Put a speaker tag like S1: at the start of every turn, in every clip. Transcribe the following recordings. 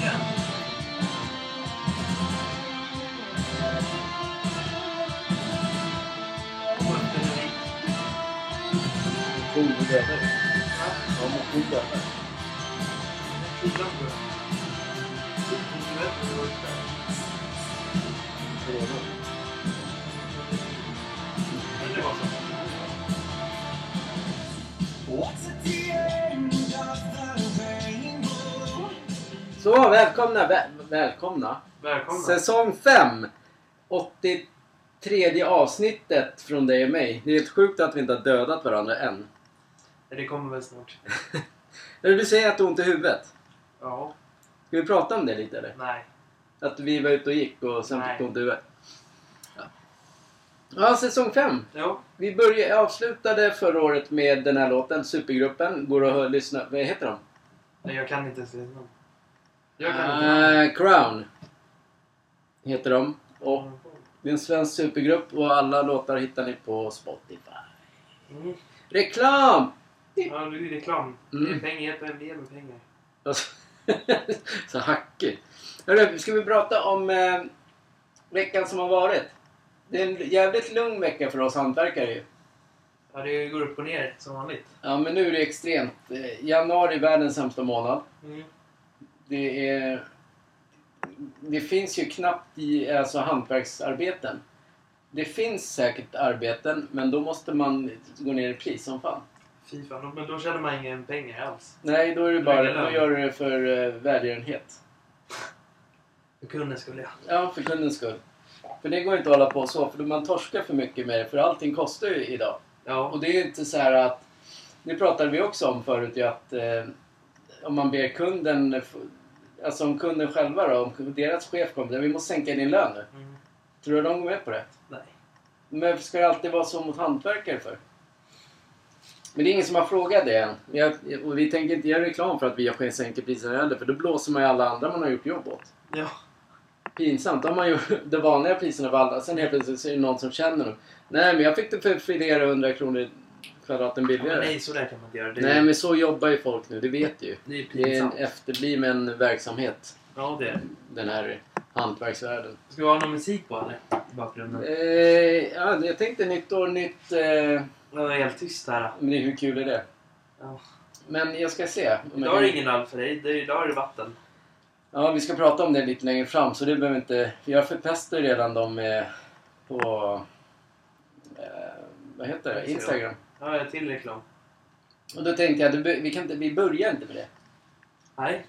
S1: Yeah.
S2: Så, välkomna, väl, välkomna.
S1: Välkomna!
S2: Säsong 5! 83 avsnittet från dig och mig. Det är helt sjukt att vi inte har dödat varandra än.
S1: Det kommer väl snart.
S2: Eller du säger att du har ont i huvudet.
S1: Ja.
S2: Ska vi prata om det lite eller?
S1: Nej.
S2: Att vi var ute och gick och sen
S1: Nej.
S2: fick du ont i huvudet. Ja. ja, säsong 5.
S1: Jo.
S2: Vi började, avslutade förra året med den här låten, Supergruppen. Går och hör, lyssna. Vad heter de?
S1: Nej, jag kan inte ens lyssna. Jag kan inte.
S2: Eh, Crown. Heter de. Och
S1: Ah.
S2: det är en svensk supergrupp och alla låtar hittar ni på Spotify.
S1: Mm.
S2: Reklam!
S1: Ja, det är reklam. Det är
S2: Mm.
S1: pengar, hjälper en del med pengar.
S2: Alltså, så hackig. Hörru, ska vi prata om eh, veckan som har varit? Det är en jävligt lugn vecka för oss hantverkare ju.
S1: Ja, det går upp och ner som vanligt.
S2: Ja, men nu är det extremt. Eh, Januari är världens sämsta månad.
S1: Mm.
S2: Det är... Det finns ju knappt i alltså, hantverksarbeten. Det finns säkert arbeten, men då måste man gå ner i pris som fan.
S1: Fy fan, men då tjänar man ingen pengar alls.
S2: Nej, då är det bara...
S1: Lägga
S2: Då
S1: lön.
S2: gör du det för eh, välgörenhet.
S1: För kunden skulle jag.
S2: Ja, för kundens skull. För det går inte att hålla på så, för man torskar för mycket med det, för allting kostar ju idag.
S1: Ja.
S2: Och det är ju inte så här att... Det pratade vi också om förut ju att eh, om man ber kunden... f- Alltså om kunden själva då, om deras chef kommer vi måste sänka din lön nu.
S1: Mm.
S2: Tror du de går med på det?
S1: Nej.
S2: Men ska det alltid vara så mot hantverkare för? Men det är ingen som har frågat det än. Jag, och vi tänker inte göra reklam för att vi har sänkt priserna heller, för då blåser man ju alla andra man har gjort jobb åt
S1: Ja.
S2: pinsamt. Om man gjorde det vanliga priserna för alla, sen helt plötsligt så är det någon som känner dem. Nej, men jag fick det för flera hundra kronor kvadraten
S1: Ja, men
S2: billigare.
S1: nej, så där kan man inte göra. Det är,
S2: Nej, men så jobbar ju folk nu, det vet du ju.
S1: det är
S2: Det är en
S1: pinsamt.
S2: efterbliven verksamhet,
S1: Ja, det är det.
S2: den här hantverksvärlden.
S1: Ska vi ha någon musik på eller? I bakgrunden.
S2: Eh, ja, jag tänkte nytt år, nytt... Eh,
S1: Det var helt tyst här.
S2: men det- hur kul är det?
S1: Ja.
S2: Men jag ska se. om jag
S1: Idag
S2: kan-
S1: är det ingen öl för dig. Det är, idag är det vatten.
S2: Ja, vi ska prata om det lite längre fram så det behöver inte... för Jag förpestar ju redan dem eh, på... Eh, vad heter det? Instagram.
S1: Ja, jag har till reklam.
S2: Och då tänkte jag, det be- vi, kan inte, vi börjar inte med det.
S1: Nej.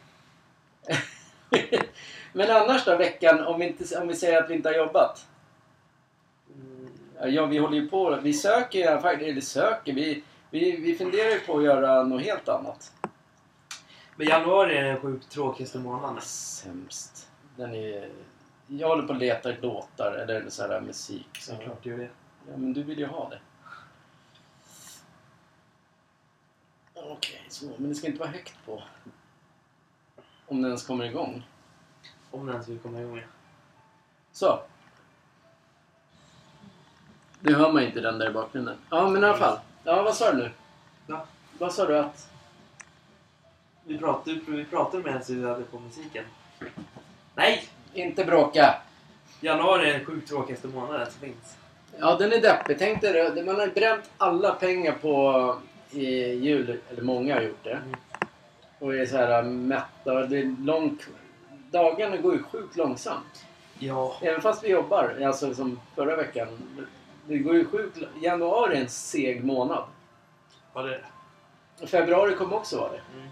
S2: Men annars då, veckan, om vi, inte, om vi säger att vi inte har jobbat.
S1: Mm.
S2: Ja, vi håller ju på. Vi söker, ju- eller söker, vi, vi, vi funderar ju på att göra något helt annat.
S1: Men januari är den sjukt tråkigaste månaden.
S2: Sämst. Den är... Jag håller på att leta låtar eller så här musik. Så.
S1: Såklart gör det.
S2: Ja, men du vill ju ha det. Okej, så. Men det ska inte vara högt på. Om den ens kommer igång.
S1: Om den ens vill komma igång. ja.
S2: Så. Nu hör man inte den där i bakgrunden. Ja, men i alla fall. Ja, vad sa du nu?
S1: Ja.
S2: Vad sa du att...
S1: Vi pratade, vi pratade medan vi hade på musiken. Nej!
S2: Inte bråka!
S1: Januari är den sjukt tråkigaste månaden som finns.
S2: Ja, den är deppig. Tänk dig det. Man har ju bränt alla pengar på i jul. Eller många har gjort det.
S1: Mm.
S2: Och är så här äh, mätta. och Det är långt... Dagarna går ju sjukt långsamt.
S1: Ja.
S2: Även fast vi jobbar, alltså som förra veckan. Det går ju sjukt... Januari är en seg månad.
S1: Ja, det är det.
S2: Februari kommer också vara det.
S1: Mm.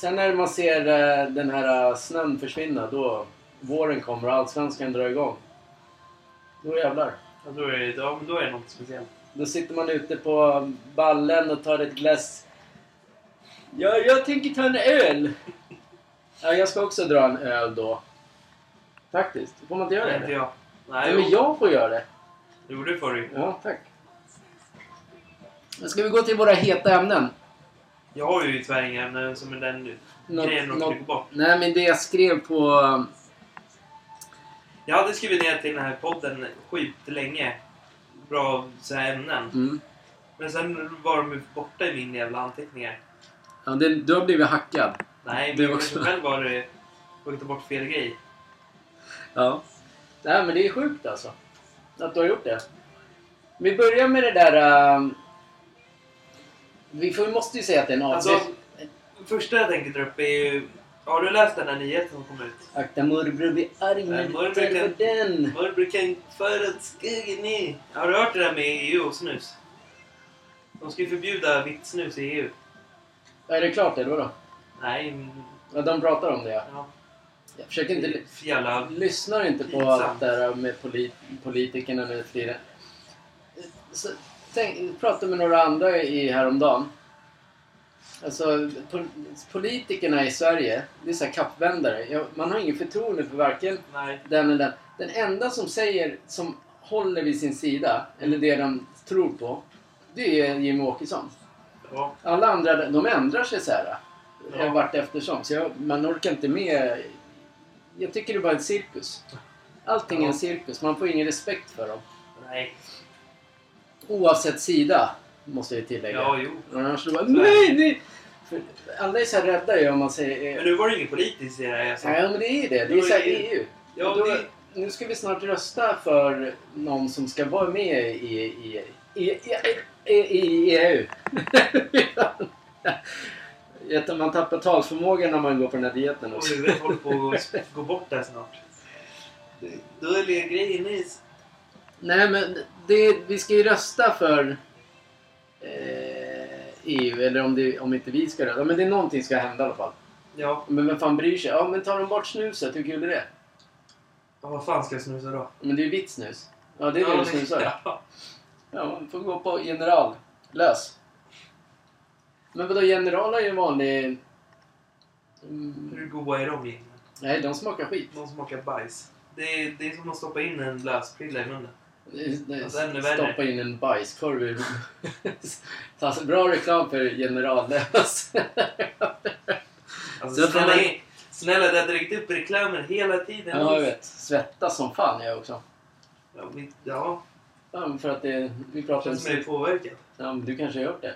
S2: Sen när man ser eh, den här eh, snön försvinna, då våren kommer och allsvenskan drar igång. Då jävlar.
S1: Ja, då är det, ja, men då är det något speciellt.
S2: Då sitter man ute på ballen och tar ett glas. Ja, jag tänker ta en öl! Ja, jag ska också dra en öl då. Faktiskt. Får man inte göra det?
S1: inte
S2: eller?
S1: jag.
S2: Nej,
S1: Nej,
S2: men
S1: jo.
S2: jag får göra det.
S1: Det gjorde du förr ju.
S2: Ja, tack. Men Ska vi gå till våra heta ämnen?
S1: Jag har ju tyvärr inga ämnen som är den nu. Grejen att trycka bort.
S2: Nej, men det jag skrev på...
S1: Jag hade skrivit ner till den här podden skitlänge. Bra så här ämnen.
S2: Mm.
S1: Men sen var de ju borta i min jävla anteckningar.
S2: Ja, det, du har blivit hackad.
S1: Nej,
S2: Du
S1: men
S2: också.
S1: väl var det... Jag tog bort fel grej.
S2: Ja. Nej, men det är sjukt alltså. Att du har gjort det. Vi börjar med det där... ehm, vi får, måste ju säga att det är en
S1: Alltså,
S2: avdrift.
S1: det första jag tänker dra upp är ju... Har du läst den här nyheten som kom ut?
S2: Akta morbror blir arg
S1: Nej,
S2: men
S1: morbror
S2: inte
S1: kan-
S2: för den.
S1: Morbror kan föra åt skogen i. Har du hört det där med EU och snus? De ska ju förbjuda vitt snus i EU.
S2: Är det klart eller vadå?
S1: Nej, mm,
S2: Ja, de pratar om det ja.
S1: ja.
S2: Jag försöker inte... ly-
S1: För jävla...
S2: Lyssnar inte på
S1: Pinsamt.
S2: allt det här med polit, politikerna nu för tiden. Så, tänk, jag pratade med några andra i häromdagen. Alltså, pol, politikerna i Sverige, det är så här kappvändare. Jag, man har ingen förtroende för varken
S1: Nej.
S2: den eller den. Den enda som säger, som håller vid sin sida, eller det de tror på, det är Jimmie Åkesson.
S1: Ja.
S2: Alla andra, de ändrar sig så här.
S1: Ja.
S2: Ja. Vart eftersom. Så jag, man orkar inte med. Jag tycker det är bara en cirkus. Allting är en
S1: Ja.
S2: cirkus. Man får ingen respekt för dem.
S1: Nej.
S2: Oavsett sida, måste jag tillägga.
S1: Ja, jo.
S2: Annars så bara,
S1: Så är det.
S2: nej, nej! För alla är så här rädda ju om man säger...
S1: Men
S2: eh,
S1: nu var det inget politiskt i det här jag sa.
S2: Nej, men det är det. Det
S1: Då
S2: är
S1: är
S2: så här E
S1: det-
S2: EU.
S1: Ja,
S2: Då,
S1: det-
S2: Nu ska vi snart rösta för någon som ska vara med i, i, i, i, i, i E EU. Jätte- man tappar talförmågan när man går på den här dieten
S1: Och
S2: också.
S1: huvudet håller på att gå bort där snart. Det- Då är det grejen i...
S2: Nej, men det, vi ska ju rösta för eh, EU, eller om, det, om inte vi ska rösta. Men det är någonting som ska hända i alla fall.
S1: Ja,
S2: Men vem fan bryr sig? Ja, men tar de bort snuset, hur kul är det?
S1: ja, vad fan ska jag snusa då?
S2: Men det är ju vitt snus. Ja, det är det
S1: ja,
S2: du snusar.
S1: Ja.
S2: Ja, man får gå på general. Lös. Men vadå, general är ju en vanlig... Mm,
S1: Hur goa är de egentligen?
S2: nej, de smakar skit.
S1: De smakar bajs. Det är, det är som att stoppa in en lösprilla i munnen. Alltså, ännu värre.
S2: Stoppa in en bajskorv i alltså, Bra reklam för generallös.
S1: Alltså,
S2: Jag tror
S1: snälla,
S2: man-
S1: in- snälla, det har direkt upp reklamer hela tiden.
S2: ja, jag vet. Svettas som fan jag också.
S1: Ja, vi, ja
S2: Ja, men för att det... Vi
S1: det
S2: pratar om...
S1: känns som jag är påverkad.
S2: Ja, men du kanske har gjort det.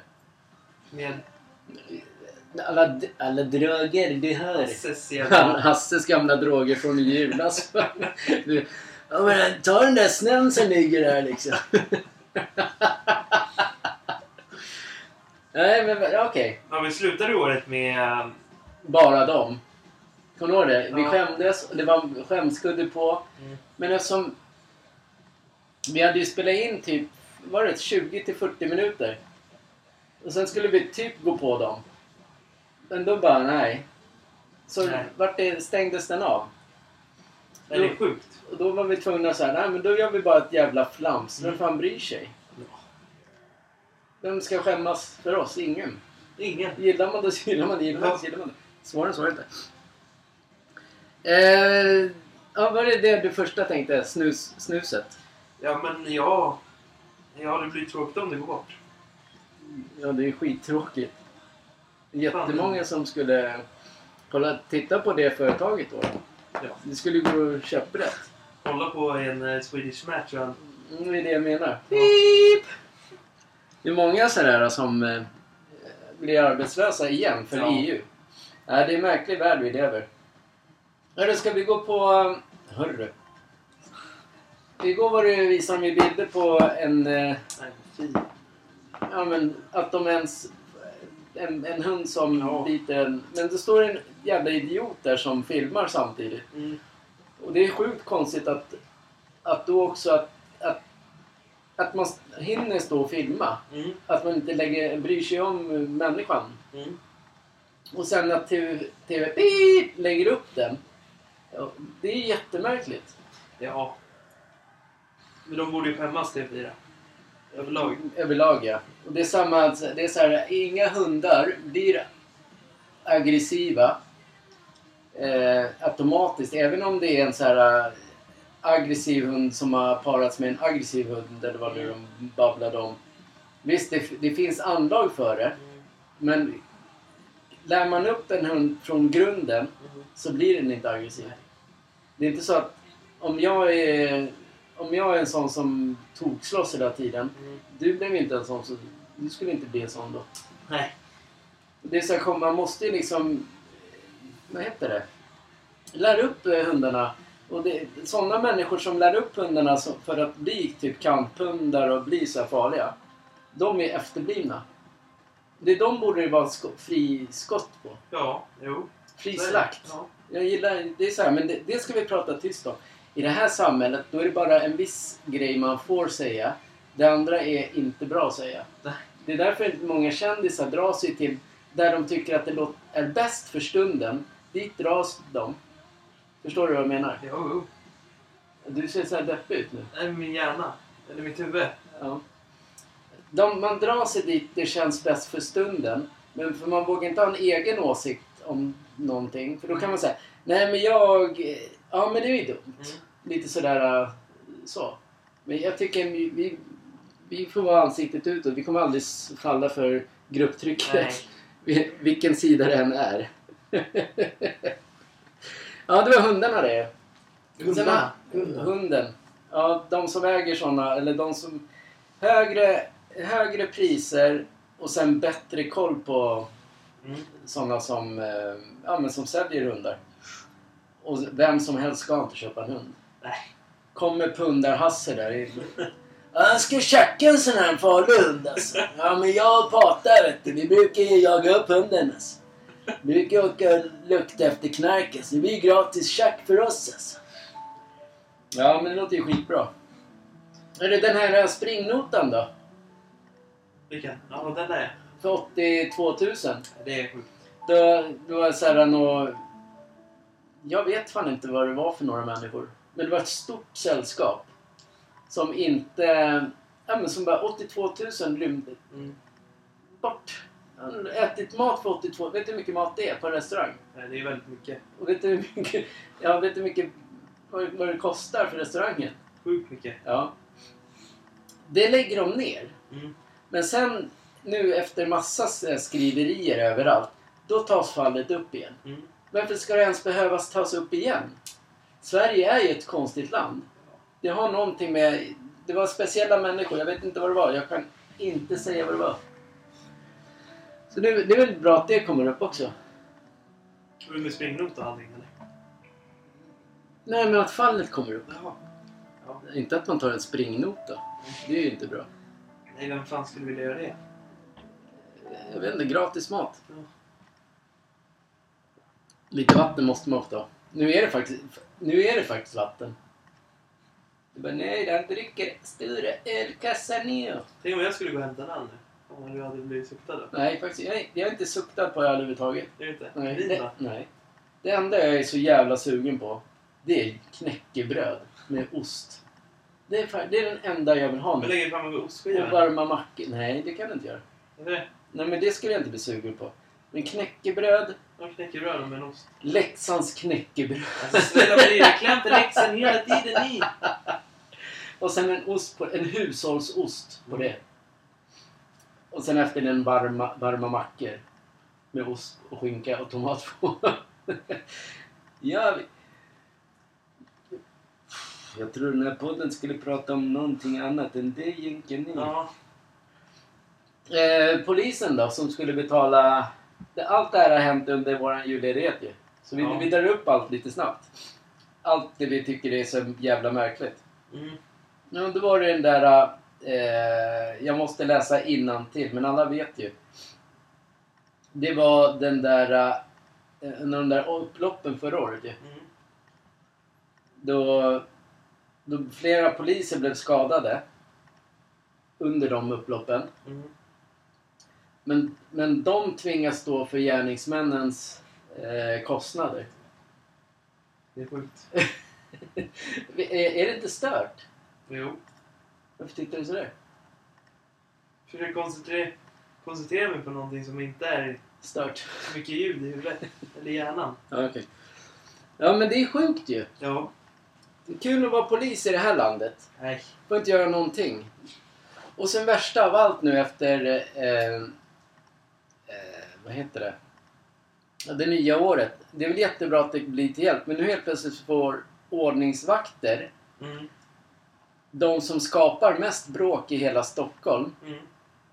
S1: Med
S2: Alla, alla droger du hör.
S1: Hasses
S2: Han-
S1: jävla...
S2: Hasses gamla droger från i julas. Du, ja, men ta den där snön som ligger där liksom. Nej men ja, okej,
S1: Ja, men slutade året med... ähm,
S2: bara dem. Kommer du ihåg det? Vi
S1: Ja.
S2: skämdes och det var skämskudde på.
S1: Mm.
S2: Men eftersom vi hade ju spelat in typ, var det 20 till 40 minuter? Och sen skulle vi typ gå på dem. Men då bara nej. Så
S1: Nej.
S2: vart det, stängdes den av.
S1: Nej, det är sjukt.
S2: Och då var vi tvungna att säga, nej men då gör vi bara ett jävla flams. Vem
S1: Mm.
S2: fan bryr sig?
S1: Ja.
S2: Vem ska skämmas för oss? Ingen.
S1: Ingen.
S2: Gillar man det så gillar man det, gillar man det
S1: Ja.
S2: så gillar man det. Svårare än så är det inte. Eh, ja, var det det du första tänkte? Snus, snuset?
S1: Ja, men ja... Ja, det blir tråkigt om det går bort.
S2: Ja, det är skittråkigt. Jättemånga som skulle... Kolla, titta på det företaget då.
S1: Ja.
S2: Det skulle ju gå och köpa rätt.
S1: Kolla på en eh, Swedish Match. Och en,
S2: Mm, Det är det jag menar.
S1: Ja.
S2: Pip! Det är många sådär som eh, blir arbetslösa igen för
S1: Ja.
S2: EU. Nej, det är en märklig värld vi lever. Hörru, ska vi gå på... eh, Hörru. Igår var det, visade de ju bilder på en... eh,
S1: nej, fy.
S2: Ja, men att de ens... eh, En, en hund som
S1: Ja.
S2: biter en... Men det står en jävla idiot där som filmar samtidigt.
S1: Mm.
S2: Och det är sjukt konstigt att, att då också att, att, att man hinner stå och filma.
S1: Mm.
S2: Att man inte lägger, bryr sig om eh, människan.
S1: Mm.
S2: Och sen att TV, TV beep, lägger upp den. Ja, det är jättemärkligt.
S1: Ja. Men de borde ju skämmas, TV4. Överlag.
S2: Överlag ja. Och det är samma, alltså, det är så här, inga hundar blir aggressiva eh, automatiskt. Även om det är en så här eh, aggressiv hund som har parats med en aggressiv hund eller vad nu de babblade om. Visst, det, det finns anlag för det.
S1: Mm.
S2: Men lär man upp en hund från grunden
S1: Mm.
S2: så blir den inte aggressiv. Det är inte så att om jag är, om jag är en sån som tokslåss hela tiden
S1: Mm.
S2: du blev inte en sån, så du skulle inte bli en sån då.
S1: Nej.
S2: Det är så här, kom- man måste ju liksom... vad heter det? Lär upp eh, hundarna. Och det, sådana människor som lär upp hundarna så- för att bli typ kamphundar och bli så här farliga. De är efterblivna. Det, de borde ju vara sko- fri skott på.
S1: Ja, jo.
S2: Fri
S1: Så är det.
S2: slakt.
S1: Ja.
S2: Jag gillar, det är så här, men det, det ska vi prata tyst om. I det här samhället, då är det bara en viss grej man får säga. Det andra är inte bra att säga.
S1: Nej.
S2: Det är därför många kändisar drar sig till där de tycker att det låt- är bäst för stunden. Dit dras de. Förstår du vad jag menar?
S1: Jo, jo.
S2: Du ser så här deppig ut nu.
S1: Det är min hjärna. Eller mitt huvud.
S2: Ja. De, man drar sig dit det känns bäst för stunden. Men för man vågar inte ha en egen åsikt om någonting. För då kan man säga, nej men jag... Ja men det är ju dumt.
S1: Mm.
S2: Lite sådär äh, så. Men jag tycker vi, vi, vi får vara ansiktet utåt. Vi kommer aldrig s- falla för
S1: Nej.
S2: grupptrycket. Vi- Vilken sida det än är. ja, det var hundarna det. Sen har- Hunden. Ja, de som äger såna eller de som... Högre, högre priser och sen bättre koll på
S1: Mm.
S2: såna som, eh, ja, men som säljer hundar. Och vem som helst ska inte köpa en hund.
S1: Nej.
S2: Kommer pundarhasse där. i- Ja, Jag ska tjacka en sån här farlig hund alltså. Ja men jag och Pata vet du, vi brukar ju jaga upp hunden alltså. Vi brukar åka och lukta efter knark alltså. Det blir ju gratis tjack för oss alltså. Ja men det låter ju skitbra. Eller den här springnotan då?
S1: Vilken? Ja, den där.
S2: För 82 000.
S1: ja. Det är sjukt.
S2: Det, det var så här nå... Jag vet fan inte vad det var för några människor. Men det var ett stort sällskap. Som inte... Ja men som bara 82 000 rymde
S1: Mm.
S2: bort. Han har ätit mat för 82... Vet du hur mycket mat det är på en restaurang?
S1: Nej, Det är väldigt mycket.
S2: Och vet du hur mycket... Ja, vet du hur mycket... Vad, vad det kostar för restaurangen?
S1: Sjukt mycket.
S2: Ja. Det lägger de ner.
S1: Mm.
S2: Men sen nu efter massa så här skriverier överallt, då tas fallet upp igen.
S1: Mm.
S2: Varför ska det ens behövas tas upp igen? Sverige är ju ett konstigt land. Det har någonting med... Det var speciella människor, jag vet inte vad det var. Jag kan inte säga vad det var. Så det, det är väl bra att det kommer upp också.
S1: Var det med springnot och allting eller?
S2: Nej, men att fallet kommer upp.
S1: Jaha. Ja.
S2: Inte att man tar en springnota. Det är ju inte bra.
S1: Nej, vem fan skulle vilja göra det?
S2: Jag vet inte, gratis mat.
S1: Ja.
S2: Lite vatten måste man ofta ha. Nu är det faktiskt, nu är det faktiskt vatten. Du bara, nej, den dricker stora ölkassar ner.
S1: Tänk om jag skulle gå och hämta en öl nu. Om du hade blivit suktad då.
S2: Nej, faktiskt, jag, jag är inte suktad på öl överhuvudtaget.
S1: Är du inte?
S2: Nej.
S1: Vin
S2: Det,
S1: då?
S2: nej. det enda jag är så jävla sugen på, det är knäckebröd med ost. Det är, fa- det är den enda jag vill ha
S1: Du
S2: nu.
S1: lägger fram en ostskiva.
S2: Och varma mackor. Nej, det kan du inte göra.
S1: Är det?
S2: Nej, men det skulle jag inte bli sugen på. Men knäckebröd,
S1: De knäcker rören med en ost.
S2: Leksands knäckebröd.
S1: Alltså snälla bli det klämt i läxan hela tiden i.
S2: Och sen en, ost på, en hushållsost på det. Och sen efter den varma, varma mackor med ost och skinka och tomat på. ja, vi... Jag tror den här podden skulle prata om någonting annat än det egentligen.
S1: Ja.
S2: Eh, polisen då, som skulle betala... det- Allt det här har hänt under vår julledighet ju. Så vi,
S1: Ja.
S2: vi drar upp allt lite snabbt. Allt det vi tycker är så jävla märkligt.
S1: Mm.
S2: Ja, då var det den där... Eh, jag måste läsa innan till, men alla vet ju. Det var den där... Eh, en av de där upploppen förra året ju.
S1: Mm.
S2: Då, då flera poliser blev skadade under de upploppen.
S1: Mm.
S2: Men, men de tvingas stå för gärningsmännens eh, kostnader.
S1: Det är sjukt.
S2: är, är det inte stört?
S1: Jo.
S2: Varför tittar du sådär?
S1: Försök koncentrera, koncentrera mig på någonting som inte är
S2: Stört?
S1: så mycket ljud i huvudet. Eller hjärnan.
S2: Ja, okej. Ja, men det är sjukt ju.
S1: Ja.
S2: Det är kul att vara polis i det här landet.
S1: Nej.
S2: Får inte göra någonting. Och sen värsta av allt nu efter... Eh, eh, vad heter det? Ja, det nya året. Det är väl jättebra att det blir till hjälp. Men nu helt plötsligt får ordningsvakter,
S1: Mm.
S2: de som skapar mest bråk i hela Stockholm,
S1: Mm.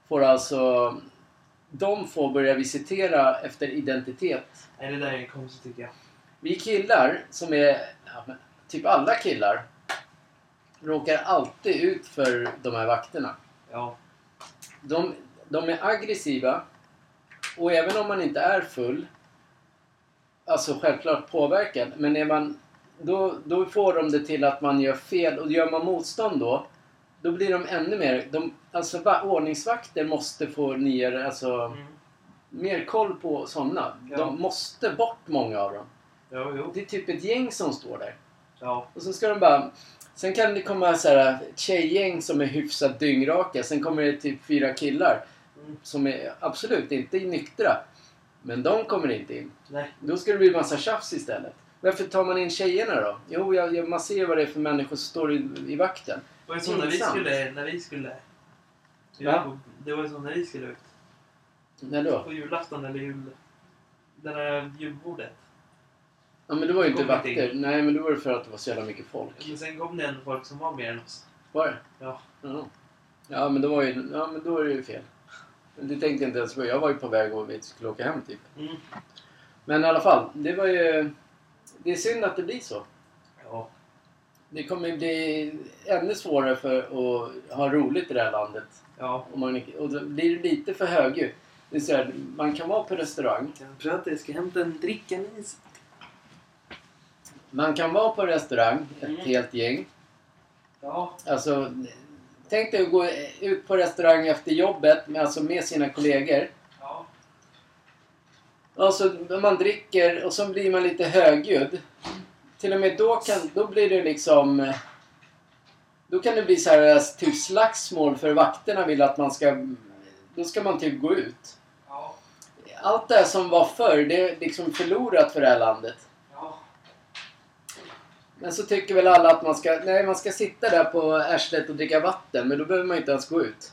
S2: får alltså de får börja visitera efter identitet.
S1: Nej, det där är konstigt tycker jag.
S2: Vi killar, som är ja, men typ alla killar, råkar alltid ut för de här vakterna.
S1: Ja.
S2: De, de är aggressiva och även om man inte är full, alltså självklart påverkad, men är man, då, då får de det till att man gör fel och gör man motstånd då, då blir de ännu mer, de, alltså va, ordningsvakter måste få nya, alltså
S1: Mm.
S2: mer koll på sådana.
S1: Ja.
S2: De måste bort många av dem.
S1: Ja, jo.
S2: Det är typ ett gäng som står där.
S1: Ja.
S2: Och så ska de bara... Sen kan det komma så här ett tjejgäng som är hyfsat dyngraka. Sen kommer det typ fyra killar
S1: Mm.
S2: som är absolut inte nyktra. Men de kommer inte in.
S1: Nej.
S2: Då ska det bli massa tjafs istället. Varför tar man in tjejerna då? Jo, jag, jag, man ser ju vad det är för människor som står i, i vakten.
S1: Det var ju som när vi
S2: Pinsamt.
S1: skulle... När vi skulle... vi
S2: Va?
S1: var på- Det var ju som när vi skulle ut.
S2: När då?
S1: På julafton eller jul... Det där julbordet.
S2: Ja, men det var ju inte
S1: Kom inte
S2: vakter. Nej, men det var ju för att det var så jävla mycket folk.
S1: Men sen kom det ändå folk som var mer än oss.
S2: Var det?
S1: Ja.
S2: Ja, ja men, då var ju, ja men då är det ju fel. Men det tänkte jag inte ens på. Jag var ju på väg och vi skulle åka hem typ.
S1: Mm.
S2: Men i alla fall, det var ju... Det är synd att det blir så.
S1: Ja.
S2: Det kommer ju bli ännu svårare för att ha roligt i det här landet.
S1: Ja.
S2: Om man, och då blir det lite för högljutt. Det är så här, man kan vara på restaurang.
S1: Jag ska hämta en dricka med is.
S2: Man kan vara på restaurang, ett
S1: Mm.
S2: helt gäng.
S1: Ja.
S2: Alltså, tänk dig att gå ut på restaurang efter jobbet, med, alltså med sina kollegor.
S1: Ja.
S2: Och så Alltså, man dricker och så blir man lite högljudd. Till och med då kan, då blir det liksom... eh, Då kan det bli så här typ slagsmål för vakterna vill att man ska... Då ska man typ gå ut.
S1: Ja.
S2: Allt det här som var förr, det är liksom förlorat för det här landet.
S1: Ja.
S2: Men så tycker väl alla att man ska... Nej, man ska sitta där på arslet och dricka vatten, men då behöver man inte ens gå ut.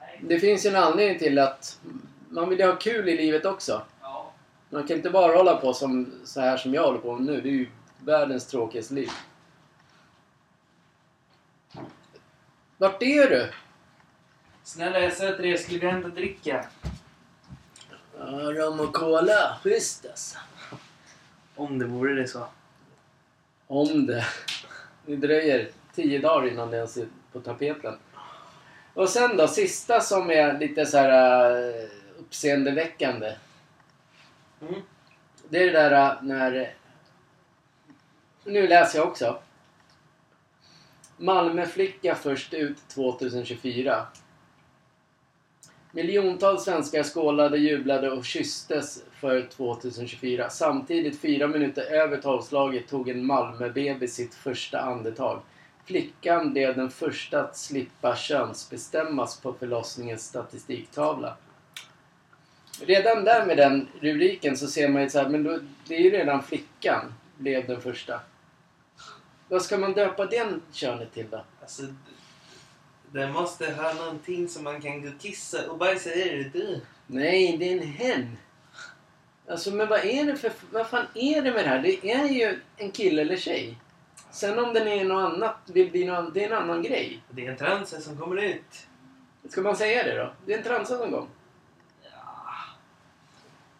S1: Nej.
S2: Det finns ju en anledning till att man vill ju ha kul i livet också.
S1: Ja.
S2: Man kan inte bara hålla på som, så här som jag håller på nu. Det är ju världens tråkigaste liv. Vart är du?
S1: Snälla, jag sa till dig, jag skulle vilja hämta dricka.
S2: Ja, rom och cola. Schysst alltså.
S1: Om det vore det så.
S2: Om det. Det dröjer tio dagar innan det ens är på tapeten. Och sen då, sista som är lite så här eh, uppseendeväckande.
S1: Mm.
S2: Det är det där äh, när... Nu läser jag också. Malmöflicka först ut 2024. Miljontals svenskar skålade, jublade och kysstes för 2024. Samtidigt, fyra minuter över tolvslaget, tog en Malmöbebis sitt första andetag. Flickan blev den första att slippa könsbestämmas på förlossningens statistiktavla. Redan där med den rubriken så ser man ju så här, men då, det är ju redan flickan blev den första. Vad ska man döpa den könet till då?
S1: Alltså, d- den måste ha någonting som man kan gå och kissa och bajsa i. Det är du.
S2: Nej, det är en hen. Alltså, men vad är det för... Vad fan är det med det här? Det är ju en kille eller tjej. Sen om den är något annat, vill bli någon, det är en annan grej.
S1: Det är en transa som kommer ut.
S2: Ska man säga det då? Det är en transa någon gång.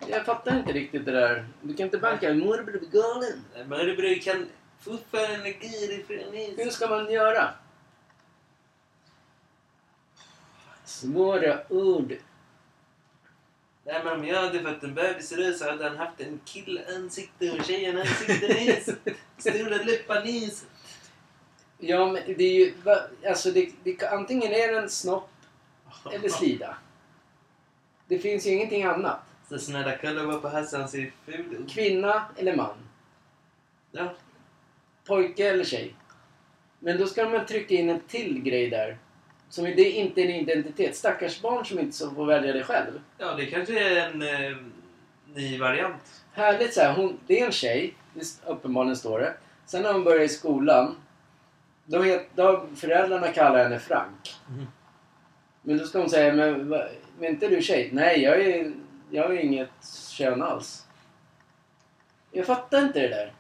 S2: Jag fattar inte riktigt det där. Du kan inte banka. Morbror blir galen.
S1: Nej, Men du bror, kan fortfarande gira ifrån
S2: Hur
S1: is.
S2: ska man göra? Svåra ord.
S1: Nej men om jag hade fått en bebis idag så hade han haft en killansikte och tjejanansikte nis. Stora läppar nis.
S2: Ja, men det är ju... va- Alltså, det, det, antingen är det en snopp eller slida. Det finns ju ingenting annat.
S1: Så snälla kolla bara på Hassan, han ser ful ut.
S2: Kvinna eller man.
S1: Ja.
S2: Pojke eller tjej. Men då ska man trycka in en till grej där. Som är- det är inte är en identitet. Stackars barn som inte så får välja det själv.
S1: ja, det kanske är en eh, ny variant.
S2: Härligt så här, hon, det är en tjej, det st- uppenbarligen står det. Sen när hon börjar i skolan, då, het, då har föräldrarna kallar henne Frank.
S1: Mhm.
S2: Men då ska hon säga, men, va, men inte du tjej? Nej, jag är, jag är inget kön alls. Jag fattar inte det där.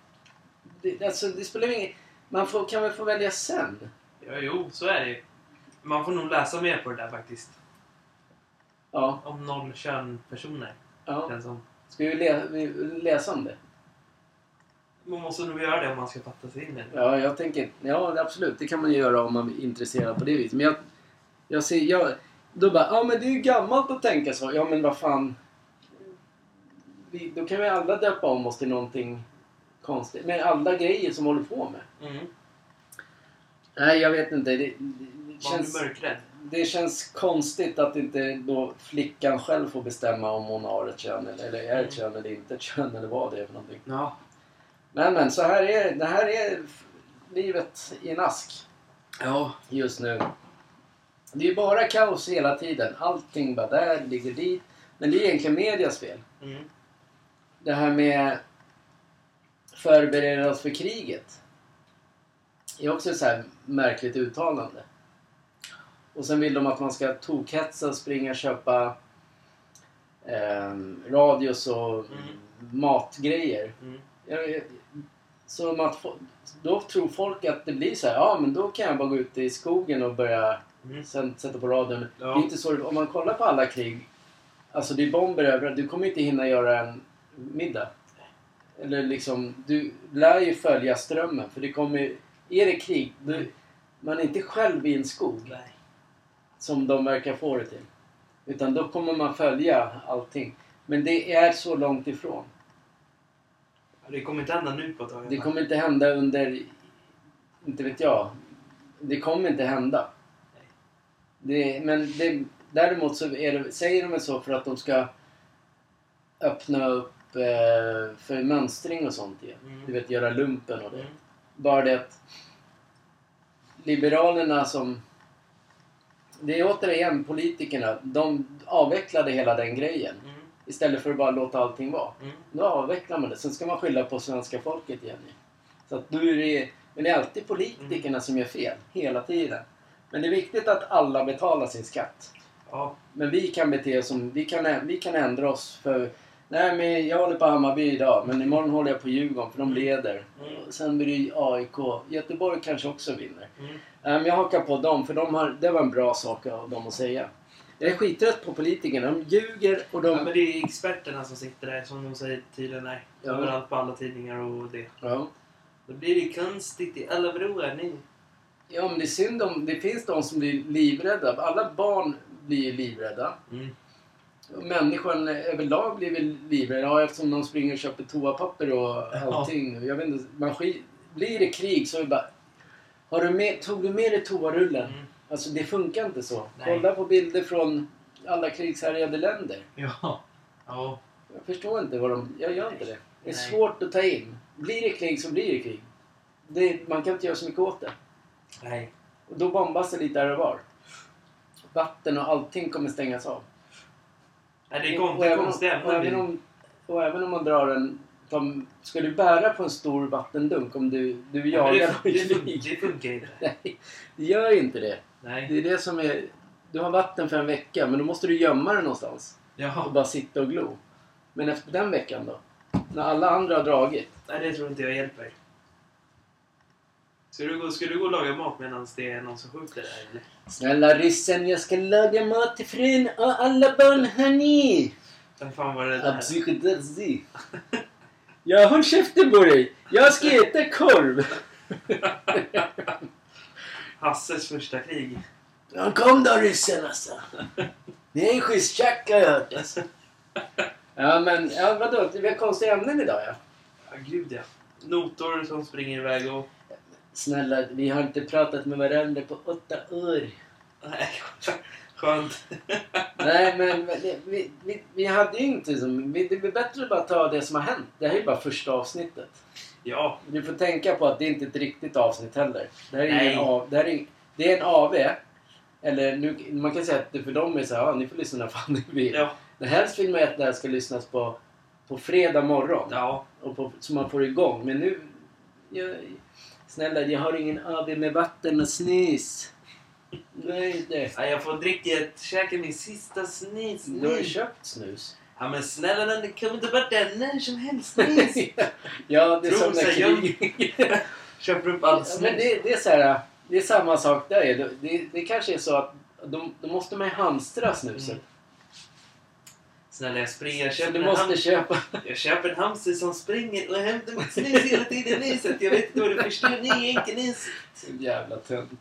S2: Det, alltså, det spelar ingen... Man får, kan väl få välja sen?
S1: Ja, jo, så är det ju. Man får nog läsa mer på det där faktiskt.
S2: Ja.
S1: Om noll könpersoner.
S2: ja.
S1: Känns som.
S2: Ska vi, lä- vi läsa om det?
S1: Man måste nog göra det om man ska fatta sig in i det.
S2: Ja, jag tänker... Ja, absolut. Det kan man ju göra om man är intresserad på det viset. Men jag... Jag ser... Jag, då bara, ja men det är ju gammalt att tänka så. Ja men vad fan. Vi, då kan vi alla döpa om oss till någonting konstigt. Med alla grejer som håller på med.
S1: Mm.
S2: Nej, jag vet inte. Det, det, det,
S1: Man blir
S2: känns,
S1: mörkrädd.
S2: det känns konstigt att inte då flickan själv får bestämma om hon har ett kön eller, eller är ett kön eller inte ett kön eller vad det är för någonting.
S1: Ja.
S2: Men men, så här är det. här är f- livet i en ask
S1: Ja.
S2: just nu. Det är ju bara kaos hela tiden. Allting bara där, ligger dit. Men det är egentligen medias fel.
S1: Mm.
S2: Det här med förbereda oss för kriget. Det är också ett så här märkligt uttalande. Och sen vill de att man ska tokhetsa, springa och köpa eh, radios och
S1: Mm.
S2: matgrejer.
S1: Mm.
S2: Jag vet- Som att, fo- då tror folk att det blir så här, ja men då kan jag bara gå ut i skogen och börja
S1: Mm.
S2: sen sätta på radion.
S1: Ja.
S2: Det är inte så, det- om man kollar på alla krig, alltså det är bomber överallt, du kommer inte hinna göra en middag. Eller liksom, du lär ju följa strömmen för det kommer ju- är det krig, du, man är inte själv i en skog
S1: Nej.
S2: som de verkar få det till. Utan då kommer man följa allting. Men det är så långt ifrån.
S1: Det kommer inte hända nu på ett tag.
S2: Det kommer inte hända under... Inte vet jag. Det kommer inte hända. Det, men det, däremot så är det, säger de väl så för att de ska öppna upp eh, för mönstring och sånt igen.
S1: Mm.
S2: Du vet, göra lumpen och det.
S1: Mm.
S2: Bara det att Liberalerna som... Det är återigen politikerna. De avvecklade hela den grejen.
S1: Mm.
S2: Istället för att bara låta allting vara.
S1: Mm.
S2: Nu avvecklar man det. Sen ska man skylla på svenska folket igen. ju. Så att nu är det, men det är alltid politikerna som gör fel. Hela tiden. Men det är viktigt att alla betalar sin skatt.
S1: Ja.
S2: Men vi kan bete oss som... Vi kan, vi kan ändra oss för... Nej, men jag håller på Hammarby idag, men imorgon håller jag på Djurgården för de leder.
S1: Mm.
S2: Sen blir det ju AIK. Göteborg kanske också vinner.
S1: Mm.
S2: Nej, men jag hakar på dem, för de har, det var en bra sak av dem att säga. Jag är skittrött på politikerna. De ljuger och de...
S1: Ja, men det är experterna som sitter där som de säger tydligen är.
S2: Ja.
S1: Överallt på alla tidningar och det.
S2: Ja.
S1: Då blir det konstigt i alla broar nu.
S2: Ja, men det är synd om... Det finns de som blir livrädda. Alla barn blir ju livrädda.
S1: Mm.
S2: Och Människan överlag blir väl livrädda. Ja, eftersom de springer och köper toapapper och allting. Jag vet inte, man skit, blir det krig så är det bara... Har du med, tog du med dig toarullen?
S1: Mm.
S2: Alltså det funkar inte så.
S1: Nej.
S2: Kolla på bilder från alla krigshärjade länder.
S1: Ja. Ja.
S2: Jag förstår inte vad de... Jag gör inte det. Det är
S1: Nej.
S2: svårt att ta in. Blir det krig så blir det krig. Det, man kan inte göra så mycket åt det.
S1: Nej.
S2: Och då bombas det lite här och var. Vatten och allting kommer stängas av.
S1: Nej, det är
S2: Och-
S1: kon-
S2: och
S1: det är
S2: även om-
S1: konstiga
S2: och även
S1: ämnen.
S2: om- Och även om man drar en... De, ska du bära på en stor vattendunk om du, du
S1: Ja, men
S2: jagar
S1: det,
S2: dem i
S1: det, fun-
S2: krig?
S1: det funkar inte.
S2: Nej, det gör inte det. Det
S1: Nej.
S2: är det som är... Du har vatten för en vecka, men då måste du gömma det någonstans. Och
S1: Jaha.
S2: bara sitta och glo. Men efter den veckan då? När alla andra har dragit?
S1: Nej, det tror inte jag hjälper. Ska du gå, ska du gå och laga mat medan det är någon som skjuter där eller?
S2: Snälla ryssen, jag ska laga mat till frun och alla barn, hörni!
S1: Vem fan var det där?
S2: Absyrderzi. Jag håll käften på dig! Jag ska äta korv!
S1: Hasses första krig.
S2: Ja, kom då ryssen alltså! Ni är en schysst tjack har jag hört alltså. Ja men, ja, vadå? Vi har konstiga ämnen idag ja.
S1: Ja, gud ja. Notor som springer iväg och...
S2: Snälla, vi har inte pratat med varandra på åtta år.
S1: Nej, skönt.
S2: Nej men, men det- vi, vi, vi hade ju inte som... Vi, det blir bättre att bara ta det som har hänt. Det här är ju bara första avsnittet.
S1: Ja.
S2: Du får tänka på att det inte är ett riktigt avsnitt heller. Det här är,
S1: Nej.
S2: ingen av, det här är, ing- det är en AV. Eller nu, man kan säga att det för dem är så här, ja, ni får lyssna när fan ni vill.
S1: Ja.
S2: Men helst vill man ju att det här ska lyssnas på, på fredag morgon.
S1: Ja.
S2: Och på, så man får igång. Men nu... Jag, snälla, jag har ingen AV med vatten och snus. Nej, inte.
S1: Nej, jag får dricka, käka min sista snis
S2: Du har ju
S1: nu.
S2: köpt snus.
S1: Ja men snälla den, det kommer inte vara den när som helst snis.
S2: ja, det är
S1: Tror
S2: som när
S1: sig jag-
S2: krig...
S1: Köper upp
S2: Ja,
S1: allt
S2: Alltså, men
S1: snus.
S2: det, det är så här, det är samma sak där. ju. Det, det, det kanske är så att de, då måste man ju hamstra snuset.
S1: Mm. Snälla jag springer, jag
S2: Så
S1: köper,
S2: du
S1: en
S2: måste
S1: hamster,
S2: köpa...
S1: jag köper en hamster som springer och hämtar mitt snus hela tiden i näset. Jag vet inte vad du förstår, ni är enkelnäs.
S2: Så jävla tunt.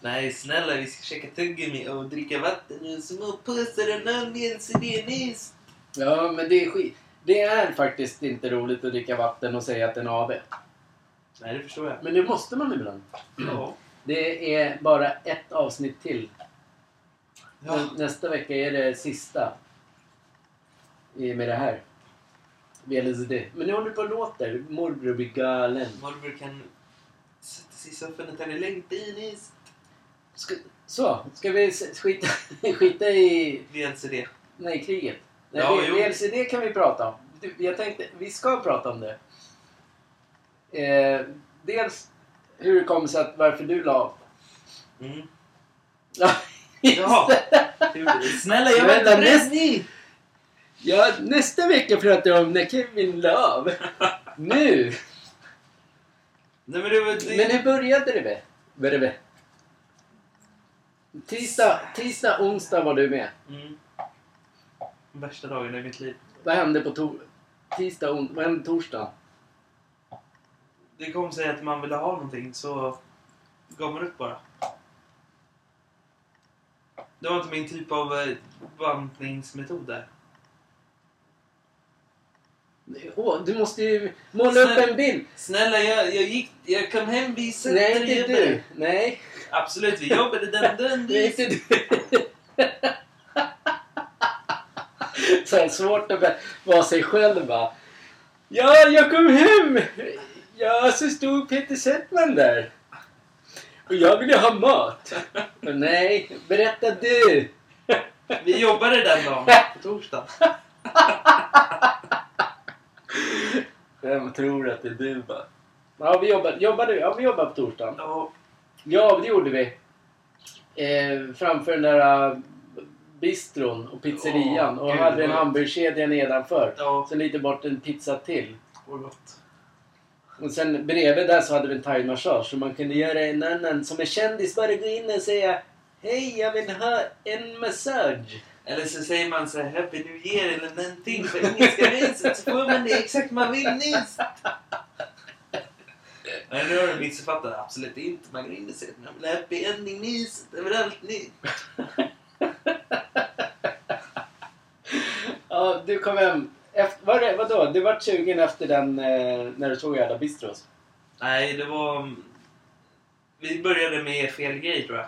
S1: Nej snälla vi ska käka tuggummi och dricka vatten och små pussar och nalljens i det näs.
S2: Ja, men det är skit. Det är faktiskt inte roligt att dricka vatten och säga att det är en AV.
S1: Nej det förstår jag.
S2: Men det måste man ibland.
S1: Ja.
S2: Det är bara ett avsnitt till.
S1: ja.
S2: Nä- Nästa vecka är det sista. i- Med det här. VLSD. Men nu håller du på och låter. Morbror blir galen.
S1: Morbror kan sätta sig i soffan och ta det lugnt i näs.
S2: Ska, så, ska vi s- skita, skita i...
S1: Vi är alltså det.
S2: Nej, kriget. Nej,
S1: Ja,
S2: vi-
S1: jo.
S2: VLCD kan vi prata om. Du, jag tänkte, vi ska prata om det. Eh, dels hur det kom sig att varför du la av.
S1: Mm.
S2: Ja,
S1: Jaha. Snälla jag
S2: Vänta,
S1: väntar
S2: näst- ja, nästa vecka pratar jag om när Kevin la av. Nu!
S1: Nej men det var... Det...
S2: Men hur började det? Med? Vad är det med? Tisdag, tisdag, onsdag var du med.
S1: Mm. Värsta dagen i mitt liv.
S2: Vad hände på tor- tisdag, on- vad hände torsdag?
S1: Det kom sig att man ville ha någonting så gav man upp bara. Det var inte min typ av eh, bantningsmetod där.
S2: Åh, du måste ju måla upp
S1: Snälla-
S2: en bild.
S1: Snälla jag, jag gick... Jag kom hem vid sätter
S2: Nej,
S1: jag
S2: inte
S1: jobbade.
S2: du. Nej,
S1: Absolut, vi jobbade den den
S2: det är
S1: den.
S2: inte du. Så här svårt att vara sig själv va. Ja, jag kom hem! Ja, så stod Peter Settman där. Och jag ville ha mat. Men nej, berätta du!
S1: Vi jobbade den dagen. På torsdag.
S2: Vem tror att det är du va? Ja, vi jobbade, jobbade, ja, vi jobbade på torsdagen.
S1: Ja,
S2: Ja, det gjorde vi. Eh, framför den där eh, bistron och pizzerian
S1: Åh,
S2: och
S1: gud,
S2: hade en
S1: vad-
S2: hamburgerkedja nedanför.
S1: ja.
S2: Sen lite bort en pizza till.
S1: Och gott.
S2: Och sen bredvid där så hade vi en thaimassage så man kunde göra en annan som är kändis bara gå in och säga Hej, jag vill ha en massage.
S1: Eller så säger man så här Happy New Year eller någonting på engelska viset så får man det exakt man vill nyss. Nej, nu har du missuppfattat det absolut inte. Man går in och säger att man vill ha happy ending nyss överallt nyss.
S2: Ja, du kom hem. Efter, var det, vadå? Du var sugen efter den eh, när du såg alla bistros?
S1: Nej, det var... mm, Vi började med fel grej tror jag.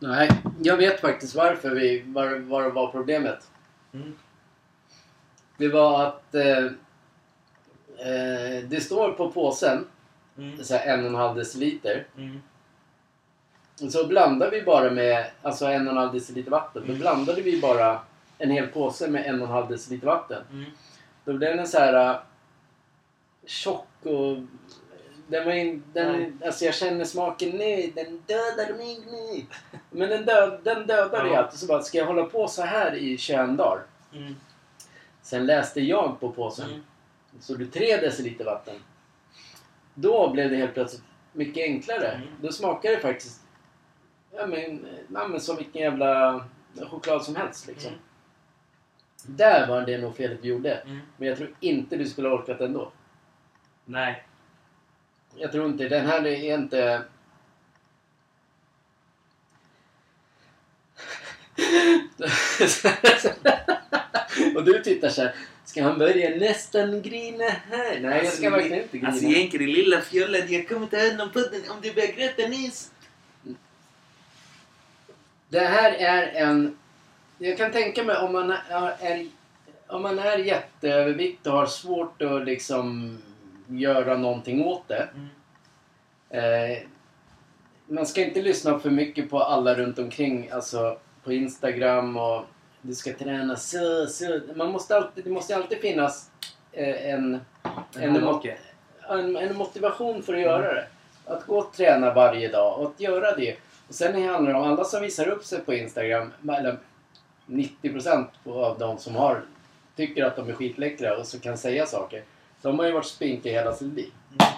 S2: Nej, jag vet faktiskt varför vi, var, var, var problemet.
S1: Mm.
S2: Det var att eh, eh, det står på påsen,
S1: Mm.
S2: så här en och en halv deciliter.
S1: Mm.
S2: Och så blandar vi bara med, alltså en och en halv deciliter vatten. Då
S1: Mm.
S2: blandade vi bara en hel påse med en och en halv deciliter vatten.
S1: Mm.
S2: Då blev den så här eh, tjock och... Den var in,
S1: Nej.
S2: den, alltså jag känner smaken nu, den dödar mig nu. Men den, död, den dödar
S1: Ja.
S2: det allt. Och så bara, ska jag hålla på så här i 21 dagar?
S1: Mm.
S2: Sen läste jag på påsen.
S1: Mm.
S2: Så du 3 deciliter vatten. Då blev det helt plötsligt mycket enklare.
S1: Mm.
S2: Då smakade det faktiskt ja, men, ja, men som vilken jävla choklad som helst. Liksom.
S1: Mm.
S2: Där var det nog felet vi gjorde.
S1: Mm.
S2: Men jag tror inte du skulle ha orkat ändå.
S1: Nej.
S2: Jag tror inte, den här är inte... Och du tittar så här. Ska han börja nästan grina här? Nej, jag ska verkligen inte grina.
S1: Alltså egentligen det lilla fjollen, jag kommer ta hand om podden om du börjar gråta nyss.
S2: Det här är en... Jag kan tänka mig om man är, är, om man är jätteöverviktig och har svårt att liksom göra någonting åt det.
S1: Mm.
S2: Eh, man ska inte lyssna för mycket på alla runt omkring, alltså på Instagram och du ska träna så, så. Man måste alltid, det måste alltid finnas eh, en, En
S1: hallocke.
S2: en, en motivation för att göra det. Att gå och träna varje dag och att göra det. Och sen handlar det om alla som visar upp sig på Instagram, eller 90% på- av de som har, tycker att de är skitläckra och så kan säga saker. De har ju varit spinkiga hela sitt liv.
S1: Mm.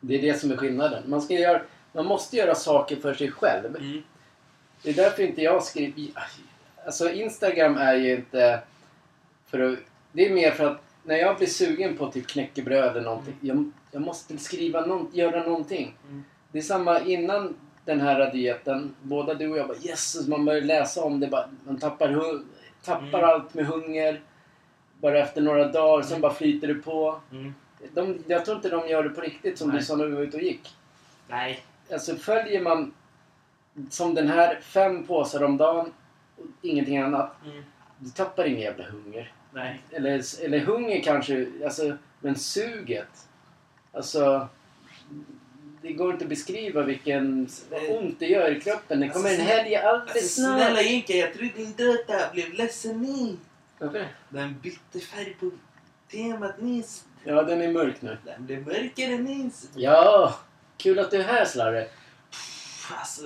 S2: Det är det som är skillnaden. Man, ska göra, man måste göra saker för sig själv.
S1: Mm.
S2: Det är därför inte jag skriver... Alltså Instagram är ju inte... För att, det är mer för att när jag blir sugen på typ knäckebröd eller någonting. Jag, jag måste skriva någon, göra någonting.
S1: Mm.
S2: Det är samma innan den här dieten. Båda du och jag bara Jesus, man börjar läsa om det. Bara, man tappar, hu- tappar
S1: Mm.
S2: allt med hunger. Bara efter några dagar, sen bara flyter det på.
S1: Mm.
S2: De, jag tror inte de gör det på riktigt som
S1: Nej.
S2: du sa när vi var ute och gick.
S1: Nej.
S2: Alltså följer man som den här, fem påsar om dagen, och ingenting annat.
S1: Mm.
S2: Du tappar ingen jävla hunger.
S1: Nej.
S2: Eller, eller hunger kanske, alltså, men suget. Alltså, det går inte att beskriva vilken vad ont det gör i kroppen. Det
S1: Alltså,
S2: kommer en
S1: snälla-
S2: helg alldeles
S1: Alltså,
S2: snart.
S1: snälla Jinka, jag trodde inte att det här blev ledsen ni.
S2: Varför det?
S1: Den bytte färg på temat nyss.
S2: Ja, den är mörk nu.
S1: Den blev mörkare nyss.
S2: Ja, kul att du är här Slarre.
S1: Pff, Alltså,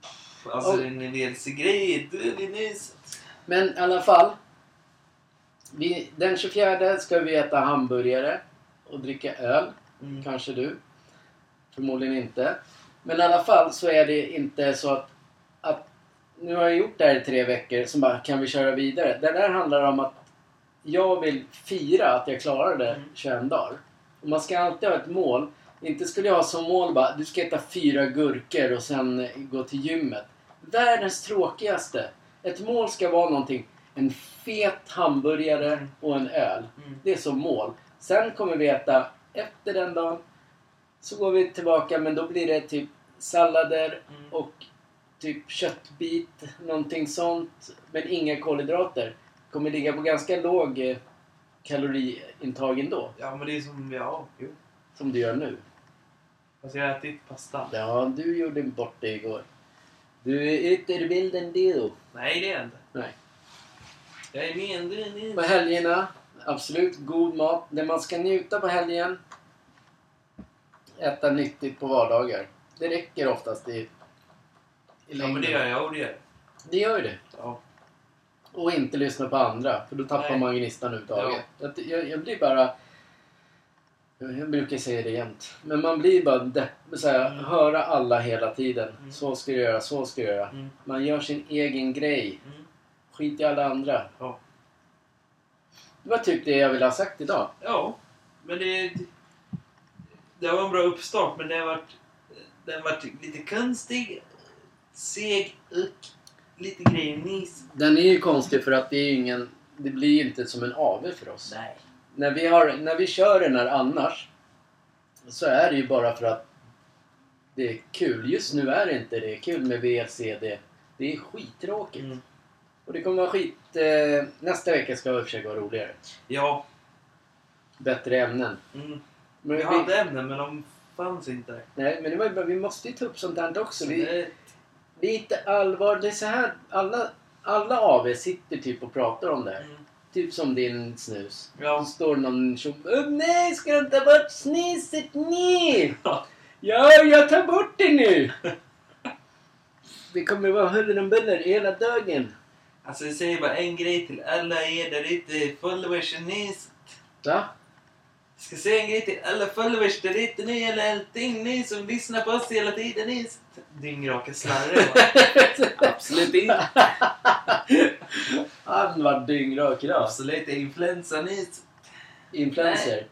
S1: pff, alltså
S2: Och-
S1: den är väl så grej. Du är det nyss.
S2: Men i alla fall. Vi, den 24 ska vi äta hamburgare och dricka öl.
S1: Mm.
S2: Kanske du. Förmodligen inte. Men i alla fall så är det inte så att, att nu har jag gjort det här i tre veckor, så bara kan vi köra vidare? Det där handlar om att jag vill fira att jag klarade
S1: Mm.
S2: 21 dagar. Och man ska alltid ha ett mål. Inte skulle jag ha som mål bara du ska äta fyra gurkor och sen gå till gymmet. Världens tråkigaste. Ett mål ska vara någonting. En fet hamburgare
S1: Mm.
S2: och en öl.
S1: Mm.
S2: Det är som mål. Sen kommer vi äta efter den dagen. Så går vi tillbaka men då blir det typ sallader
S1: Mm.
S2: och typ köttbit, någonting sånt. Men inga kolhydrater. Kommer ligga på ganska låg eh, kaloriintag ändå.
S1: Ja, men det är som jag. Jo.
S2: Som du gör nu.
S1: Alltså jag har ätit pasta.
S2: Ja, du gjorde bort det igår. Du är ytterbilden du.
S1: Nej, det är jag inte.
S2: Nej.
S1: Jag är med än du är
S2: På
S1: nyss.
S2: helgerna, absolut god mat. Det man ska njuta på helgen. Äta nyttigt på vardagar. Det räcker oftast i, i
S1: Ja, men det gör jag och det gör jag.
S2: Det gör ju det.
S1: Ja.
S2: Och inte lyssna på andra, för då tappar
S1: Nej.
S2: man gnistan ur taget. Att Jag, jag blir bara... Jag brukar säga det jämt. Men man blir bara deppig. Så här,
S1: Mm.
S2: Höra alla hela tiden.
S1: Mm.
S2: Så ska jag göra, så ska jag göra.
S1: Mm.
S2: Man gör sin egen grej.
S1: Mm.
S2: Skit i alla andra.
S1: Ja.
S2: Det var typ det jag ville ha sagt idag.
S1: Ja, men det... Det var en bra uppstart, men den vart, den vart lite konstig, seg och lite grejer nis.
S2: Den är ju konstig för att det, är ju ingen, det blir ju inte som en AV för oss.
S1: Nej.
S2: När vi, har, när vi kör den här annars så är det ju bara för att det är kul. Just nu är det inte det kul med VCD. Det är skittråkigt.
S1: Mm.
S2: Och det kommer vara skit... Eh, nästa vecka ska vi försöka vara roligare.
S1: Ja.
S2: Bättre ämnen.
S1: Mm.
S2: Men
S1: Jag
S2: vi,
S1: hade ämnen, men de fanns inte.
S2: nej, men det var ju, bara- vi måste ju ta upp sånt här också.
S1: Så
S2: Vi,
S1: det,
S2: Lite allvar. Det är så här. Alla, alla av er sitter typ och pratar om det här.
S1: mm.
S2: Typ som din snus. Då
S1: Ja.
S2: står någon tjomme. "Åh, Nej, ska du ta bort snuset nu?
S1: Ja.
S2: Ja, jag tar bort det nu! Det kommer vara huller om buller hela dagen.
S1: Alltså jag säger bara en grej till alla er där ute, followers och nis.
S2: Va?
S1: Jag ska säga en grej till alla followers där ute, ni eller allting, ni som lyssnar på oss hela tiden, ni. Dyngraka slarre. va? Absolut inte.
S2: Han var dyngrak idag.
S1: Absolut, det är influensa nyss.
S2: Influencer.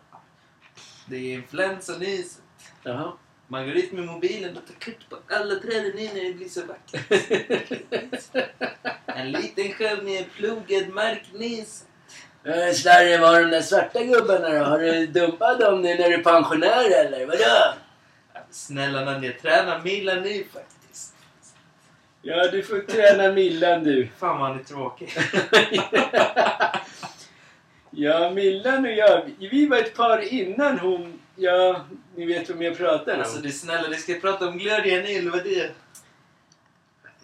S1: Det är influensa nyss.
S2: Jaha.
S1: Man går ut med mobilen och tar kort på alla träden nu när det blir så vackert. En liten själv med en plogad mark nyss.
S2: Eh, Slarre, var de där svarta gubbarna då? Har du dumpat dem nu när du är pensionär eller? Vadå?
S1: Snälla när jag tränar Milan nu faktiskt.
S2: Ja, du får träna Millan du.
S1: Fan vad han är tråkig.
S2: ja, Millan och jag, vi var ett par innan hon... Ja, ni vet vem jag pratar om.
S1: Alltså du snälla, du ska prata om Gloria Nil, vad det är.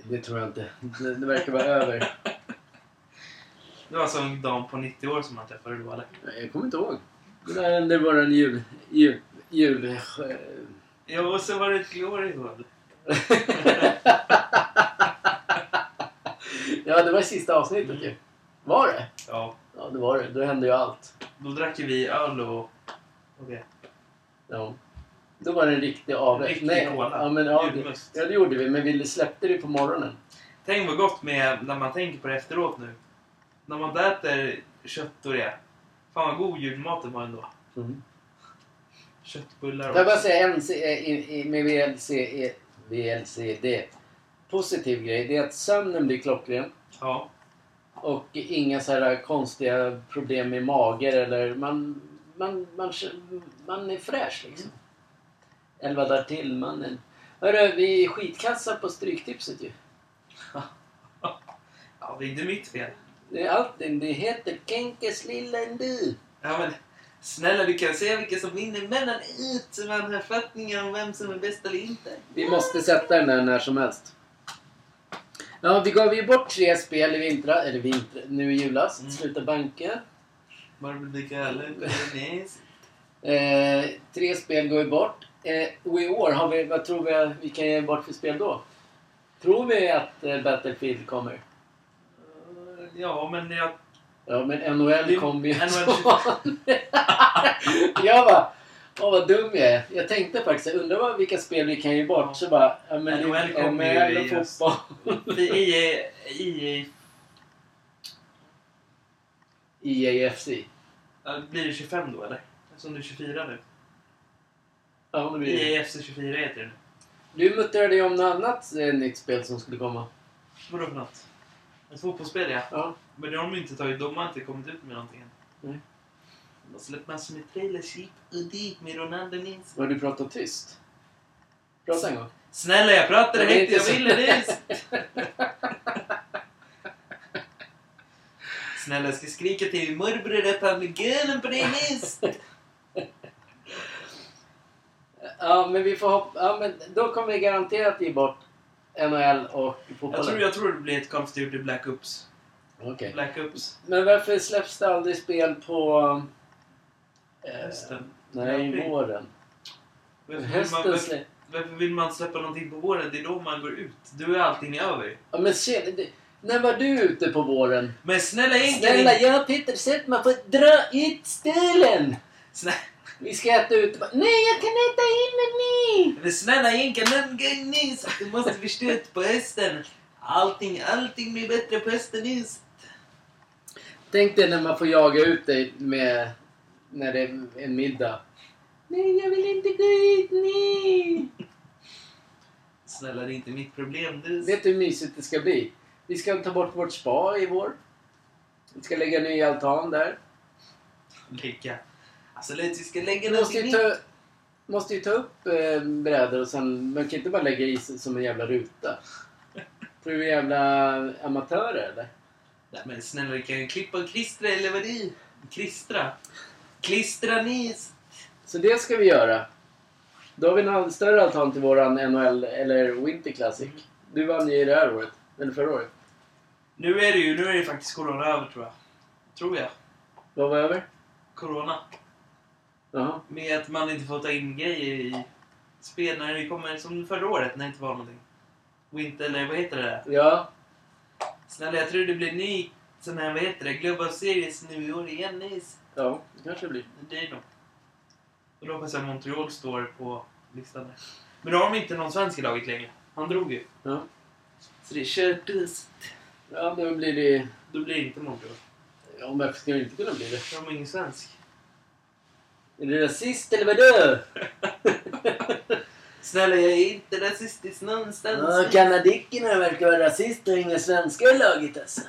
S2: det tror jag inte. Det, det verkar vara över.
S1: Det var som en dam på 90 år som han träffade då eller?
S2: Jag kommer inte ihåg. Det där
S1: Mm.
S2: under våran jul... jul... jul... eh,
S1: Ja, och så var det ett Gloria då eller?
S2: ja, det var i sista avsnittet ju.
S1: Mm.
S2: Var det?
S1: Ja,
S2: Ja, det var det. Då hände ju allt.
S1: då drack ju vi öl och... och det.
S2: Ja. Då var det en riktig avrätt.
S1: Riktig
S2: Nej,
S1: cola.
S2: Ja, men, ja, det,
S1: Julmust.
S2: ja, det gjorde vi. Men vi släppte det på morgonen.
S1: Tänk vad gott med när man tänker på det efteråt nu. När man äter kött och det. Fan vad god julmaten var ändå. Köttbullar
S2: Får
S1: och...
S2: jag bara säga en se- eh, i- i- med VLC, eh, VLCD. Positiv grej, det är att sömnen blir klockren.
S1: Ja.
S2: Och inga så här konstiga problem med mager eller man, man, man, man är fräsch liksom. Elva dagar till mannen. Hörru, vi är skitkassa på Stryktipset ju.
S1: ja, det är inte mitt fel.
S2: Det är allting. Det heter Kenkes lilla du.
S1: Ja, men snälla du kan se vilka som vinner mellan ut som man har fattningar om vem som är bäst eller inte.
S2: Vi måste sätta den där när som helst. Ja, vi gav ju bort tre spel i vintra, eller vintra, nu i julas.
S1: Mm.
S2: Sluta banka.
S1: Marble de Galle, Bernays.
S2: Eh, tre spel går ju bort. Eh, och i år, har vi, vad tror vi vi kan ge bort för spel då? Tror vi att eh, Battlefield kommer?
S1: Ja, men jag...
S2: Ja, men NHL
S1: Det-
S2: kommer ju.
S1: NHL.
S2: fan. jag bara, åh vad dum jag är. Jag tänkte faktiskt, jag undrar vad, vilka spel vi kan ge bort. Så bara, ja, men
S1: NHL kommer ju E
S2: NHL
S1: i
S2: och
S1: höst.
S2: fotboll.
S1: EA... EA...
S2: IAFC.
S1: ja, Blir det 25 då, eller? Eftersom du är 24 nu. E
S2: Ja, det blir det.
S1: EA FC 24 heter det nu.
S2: Du muttrade ju om något annat eh, nytt spel som skulle komma.
S1: Vadå för något? Ett fotbollsspel, ja.
S2: Ja.
S1: Men det har de ju inte tagit. De har inte kommit ut med någonting än.
S2: Nej.
S1: De har släppt massor med trailers hit och dit med Ronaldo minst.
S2: Vad du pratar tyst. Prata en gång.
S1: Snälla, jag pratade
S2: Men det är
S1: högt.
S2: inte
S1: Jag
S2: så-
S1: ville det. Snälla, jag ska skrika till morbror att han är galen på dig minst.
S2: Ja, men vi får hoppa... Ja, men då kommer vi garanterat ge bort NHL och fotbollen.
S1: Jag tror, jag tror det blir ett Call of Duty Black Ops.
S2: Okej.
S1: Black Ops.
S2: Men varför släpps det aldrig spel på... Eh,
S1: Hösten.
S2: nej,
S1: April.
S2: våren.
S1: Varför vill, man,
S2: Hösten
S1: varför,
S2: släpps...
S1: varför vill man släppa någonting på våren? Det är då man går ut. Du är allting över.
S2: Ja, men se, det, när var du ute på våren?
S1: Men snälla, egentligen...
S2: Snälla, jag och Peter Settman får dra ut stilen!
S1: Snälla,
S2: Vi ska äta ute. på- Nej, jag kan äta inne nu!
S1: Men snälla jänka, någon gång nyss. Du måste förstå att på hösten. Allting, allting blir bättre på hösten nyss.
S2: Tänk dig när man får jaga ut dig med... När det är en middag. Nej, jag vill inte gå ut nu!
S1: Snälla, det är inte mitt problem du.
S2: Vet du hur mysigt det ska bli? Vi ska ta bort vårt spa i vår. Vi ska lägga en ny altan där.
S1: Lägga. Alltså lätt, vi ska lägga
S2: Vi måste
S1: någonting
S2: ju
S1: nytt.
S2: ta, måste ju ta upp eh, brädor och sen... Man kan inte bara lägga i sig som en jävla ruta. Tror du vi är jävla amatörer eller?
S1: Nej men snälla, vi kan ju klippa och klistra eller vad det är. Klistra. Klistra nyss.
S2: Så det ska vi göra. Då har vi en all- större altan till våran NHL eller Winter Classic. Du vann ju det här året. Eller förra året.
S1: Nu är det ju, nu är det faktiskt corona över tror jag. Tror jag.
S2: Vad var över?
S1: Corona.
S2: Jaha.
S1: Med att man inte får ta in grejer i spel när det kommer, som förra året när det inte var någonting. Winter, eller vad heter det? Där?
S2: Ja.
S1: Snälla, jag tror det blir ny sån här, vad heter det, Global Series nu i år igen. Nils.
S2: Ja, det kanske det blir.
S1: Det är nog. Och då hoppas jag Montreal står på listan där. Men då har de inte någon svensk i laget längre. Han drog ju.
S2: Ja.
S1: Så det är körtis.
S2: Ja, då blir det...
S1: Då blir det inte Montreal.
S2: Ja, varför skulle det inte kunna bli det?
S1: För de har ingen svensk.
S2: Är du rasist eller vadå?
S1: Snälla, jag är inte rasistisk någonstans.
S2: Ja, kanadickerna verkar vara rasister och inga svenskar i laget alltså.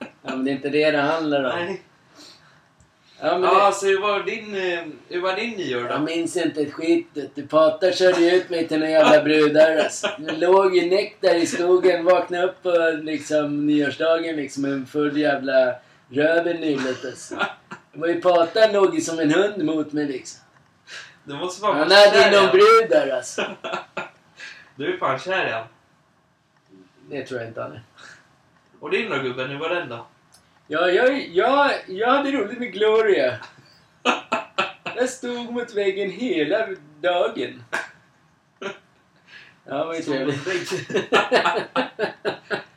S2: Ja, men det är inte det det handlar om.
S1: Nej.
S2: Ja, men
S1: Ja,
S2: det,
S1: så hur var din, eh, hur var din nyår
S2: jag
S1: då?
S2: minns inte ett skit. Du Patar körde ju ut mig till några jävla brudar alltså. Det låg ju näck där i skogen. Vaknade upp på liksom, nyårsdagen liksom en full jävla röven nyllet alltså. Det var ju Patar låg ju som en hund mot mig liksom.
S1: Du måste vara
S2: Han hade ju någon
S1: igen.
S2: brud där alltså.
S1: Du är fan kär i han.
S2: Det tror jag inte han är.
S1: Och din då gubben, hur var den då?
S2: Ja, jag, jag, jag hade roligt med Gloria. Jag stod mot väggen hela dagen. Ja, det var ju trevligt.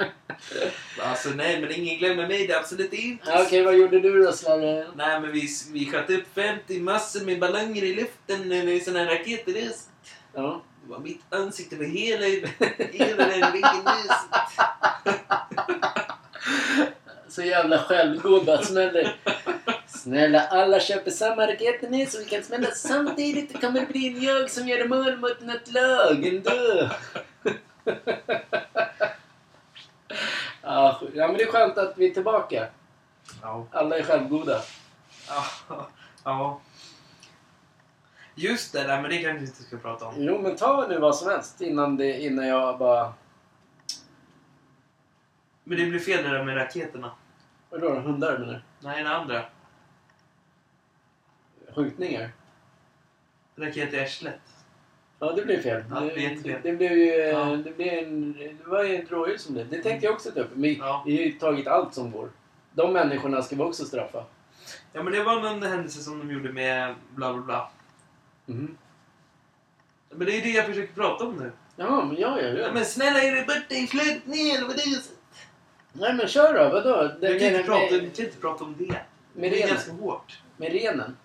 S1: Alltså nej, men ingen glömmer mig. Det är absolut inte.
S2: Ja, Okej, vad gjorde du då Slarre?
S1: Nej, men vi, vi sköt upp 50 massor med ballonger i luften med såna här raketer. det är-
S2: Ja.
S1: Det var mitt ansikte på hela, hela den väggen nyss.
S2: Så jävla självgod bara smäller. Snälla alla köper samma raketpinne så vi kan smälla samtidigt. Det kommer bli en jag som gör mål mot något lag ändå. Ja, sk- ja men det är skönt att vi är tillbaka.
S1: Ja.
S2: Alla är självgoda.
S1: ja. Just det där, men det kanske vi inte ska prata om.
S2: Jo men ta nu vad som helst innan, det, innan jag bara...
S1: Men det blev fel det där med raketerna.
S2: Vadå hundar menar du?
S1: Nej, den andra.
S2: Skjutningar?
S1: Raket i arslet.
S2: Ja det blev fel.
S1: Ja, det blev
S2: det,
S1: jättefel.
S2: det blev ju... eh,
S1: Ja.
S2: Det, blev en, det var ju ett rådjur som blev. Det tänkte jag också ta upp. Men
S1: Ja.
S2: Vi har ju tagit allt som går. De människorna ska vi också straffa.
S1: Ja, men det var någon händelse som de gjorde med bla bla bla.
S2: Mm.
S1: Men det är det jag försöker prata om nu.
S2: Ja, men jag gör
S1: Ja,
S2: det.
S1: men snälla, är det borta i flyttningen? Vad är det?
S2: Nej, men kör då. Vadå? Det,
S1: Du kan, inte prata, du
S2: med,
S1: kan inte prata om det.
S2: med,
S1: det är
S2: renen.
S1: ganska hårt.
S2: med renen?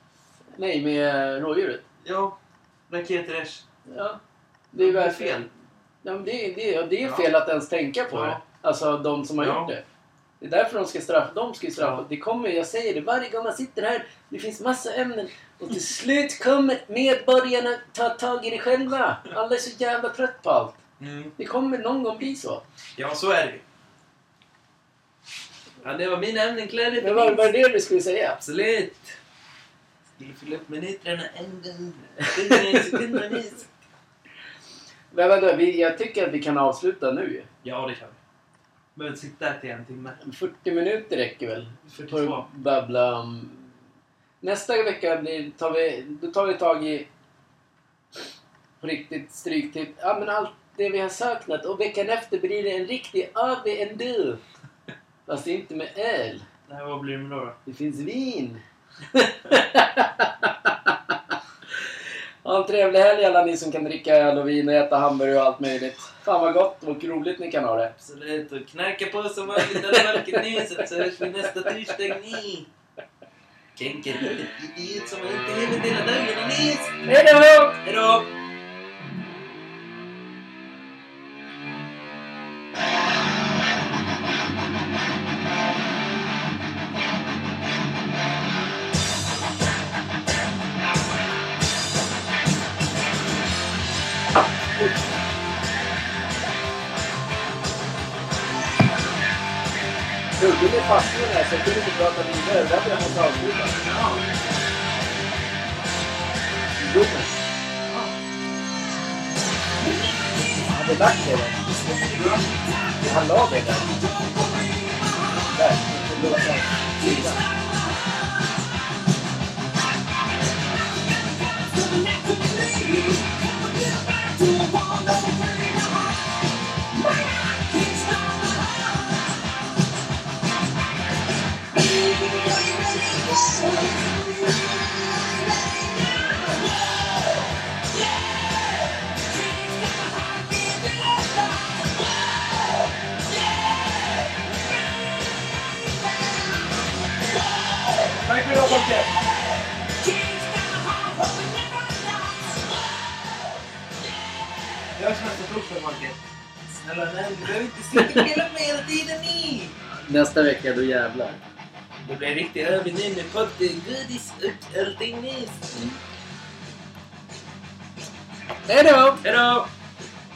S2: Nej, med eh, rådjuret.
S1: Ja, raketer i arslet.
S2: Ja. Det är
S1: Det är
S2: väl
S1: fel.
S2: Ja, men det, är- det, är- det är
S1: Ja.
S2: fel att ens tänka på
S1: Ja.
S2: det. Alltså de som har
S1: Ja.
S2: gjort det. Det är därför de ska straffa. De ska ju straffa.
S1: Ja.
S2: Det kommer, jag säger det varje gång man sitter här. Det finns massa ämnen. Och till slut kommer medborgarna ta tag i det själva. Alla är så jävla trött på allt.
S1: Mm.
S2: Det kommer någon gång bli så.
S1: Ja, så är det ju. Ja, det var mina ämnen. Klä dig
S2: Men vad
S1: minst.
S2: var det du skulle säga?
S1: Absolut. Skulle fylla upp minuterna en gång. Sekunder, sekunder, minst.
S2: Men vänta, vi, jag tycker att vi kan avsluta nu ju.
S1: Ja, det kan vi. Behöver inte sitta här till en timme.
S2: 40 minuter räcker väl? För
S1: 42.
S2: att babbla om... Nästa vecka blir, tar, vi, då tar vi tag i... På riktigt stryktips. Ja men allt det vi har saknat. Och veckan efter blir det en riktig AV en du. Fast det är inte med öl.
S1: Det här, vad blir det med då? då?
S2: Det finns vin. ha en trevlig helg alla ni som kan dricka öl och vin och äta hamburgare och allt möjligt. Fan vad gott och roligt ni kan ha det.
S1: Absolut. Och knacka på som vanligt alla Market-nyset så hörs vi nästa torsdag ni. Tänk er litet idiot som har ont i huvudet hela dagen och nyst.
S2: Hej då!
S1: Hejdå!
S2: Hugger ni fast i den här så kan vi inte prata vidare. Därför jag måste avsluta. Gubben. Han blev lack i den. Han la det där. Där. Det var där. Sidan.
S1: Tack för idag Folke! Jag hörs nästa torsdag Folke. Snälla nej, du behöver inte sitta och pilla på hela tiden ni!
S2: Nästa vecka, då jävlar.
S1: Det blir en riktig överny med potten, godis och allting nyss.
S2: Hej då!
S1: Hejdå!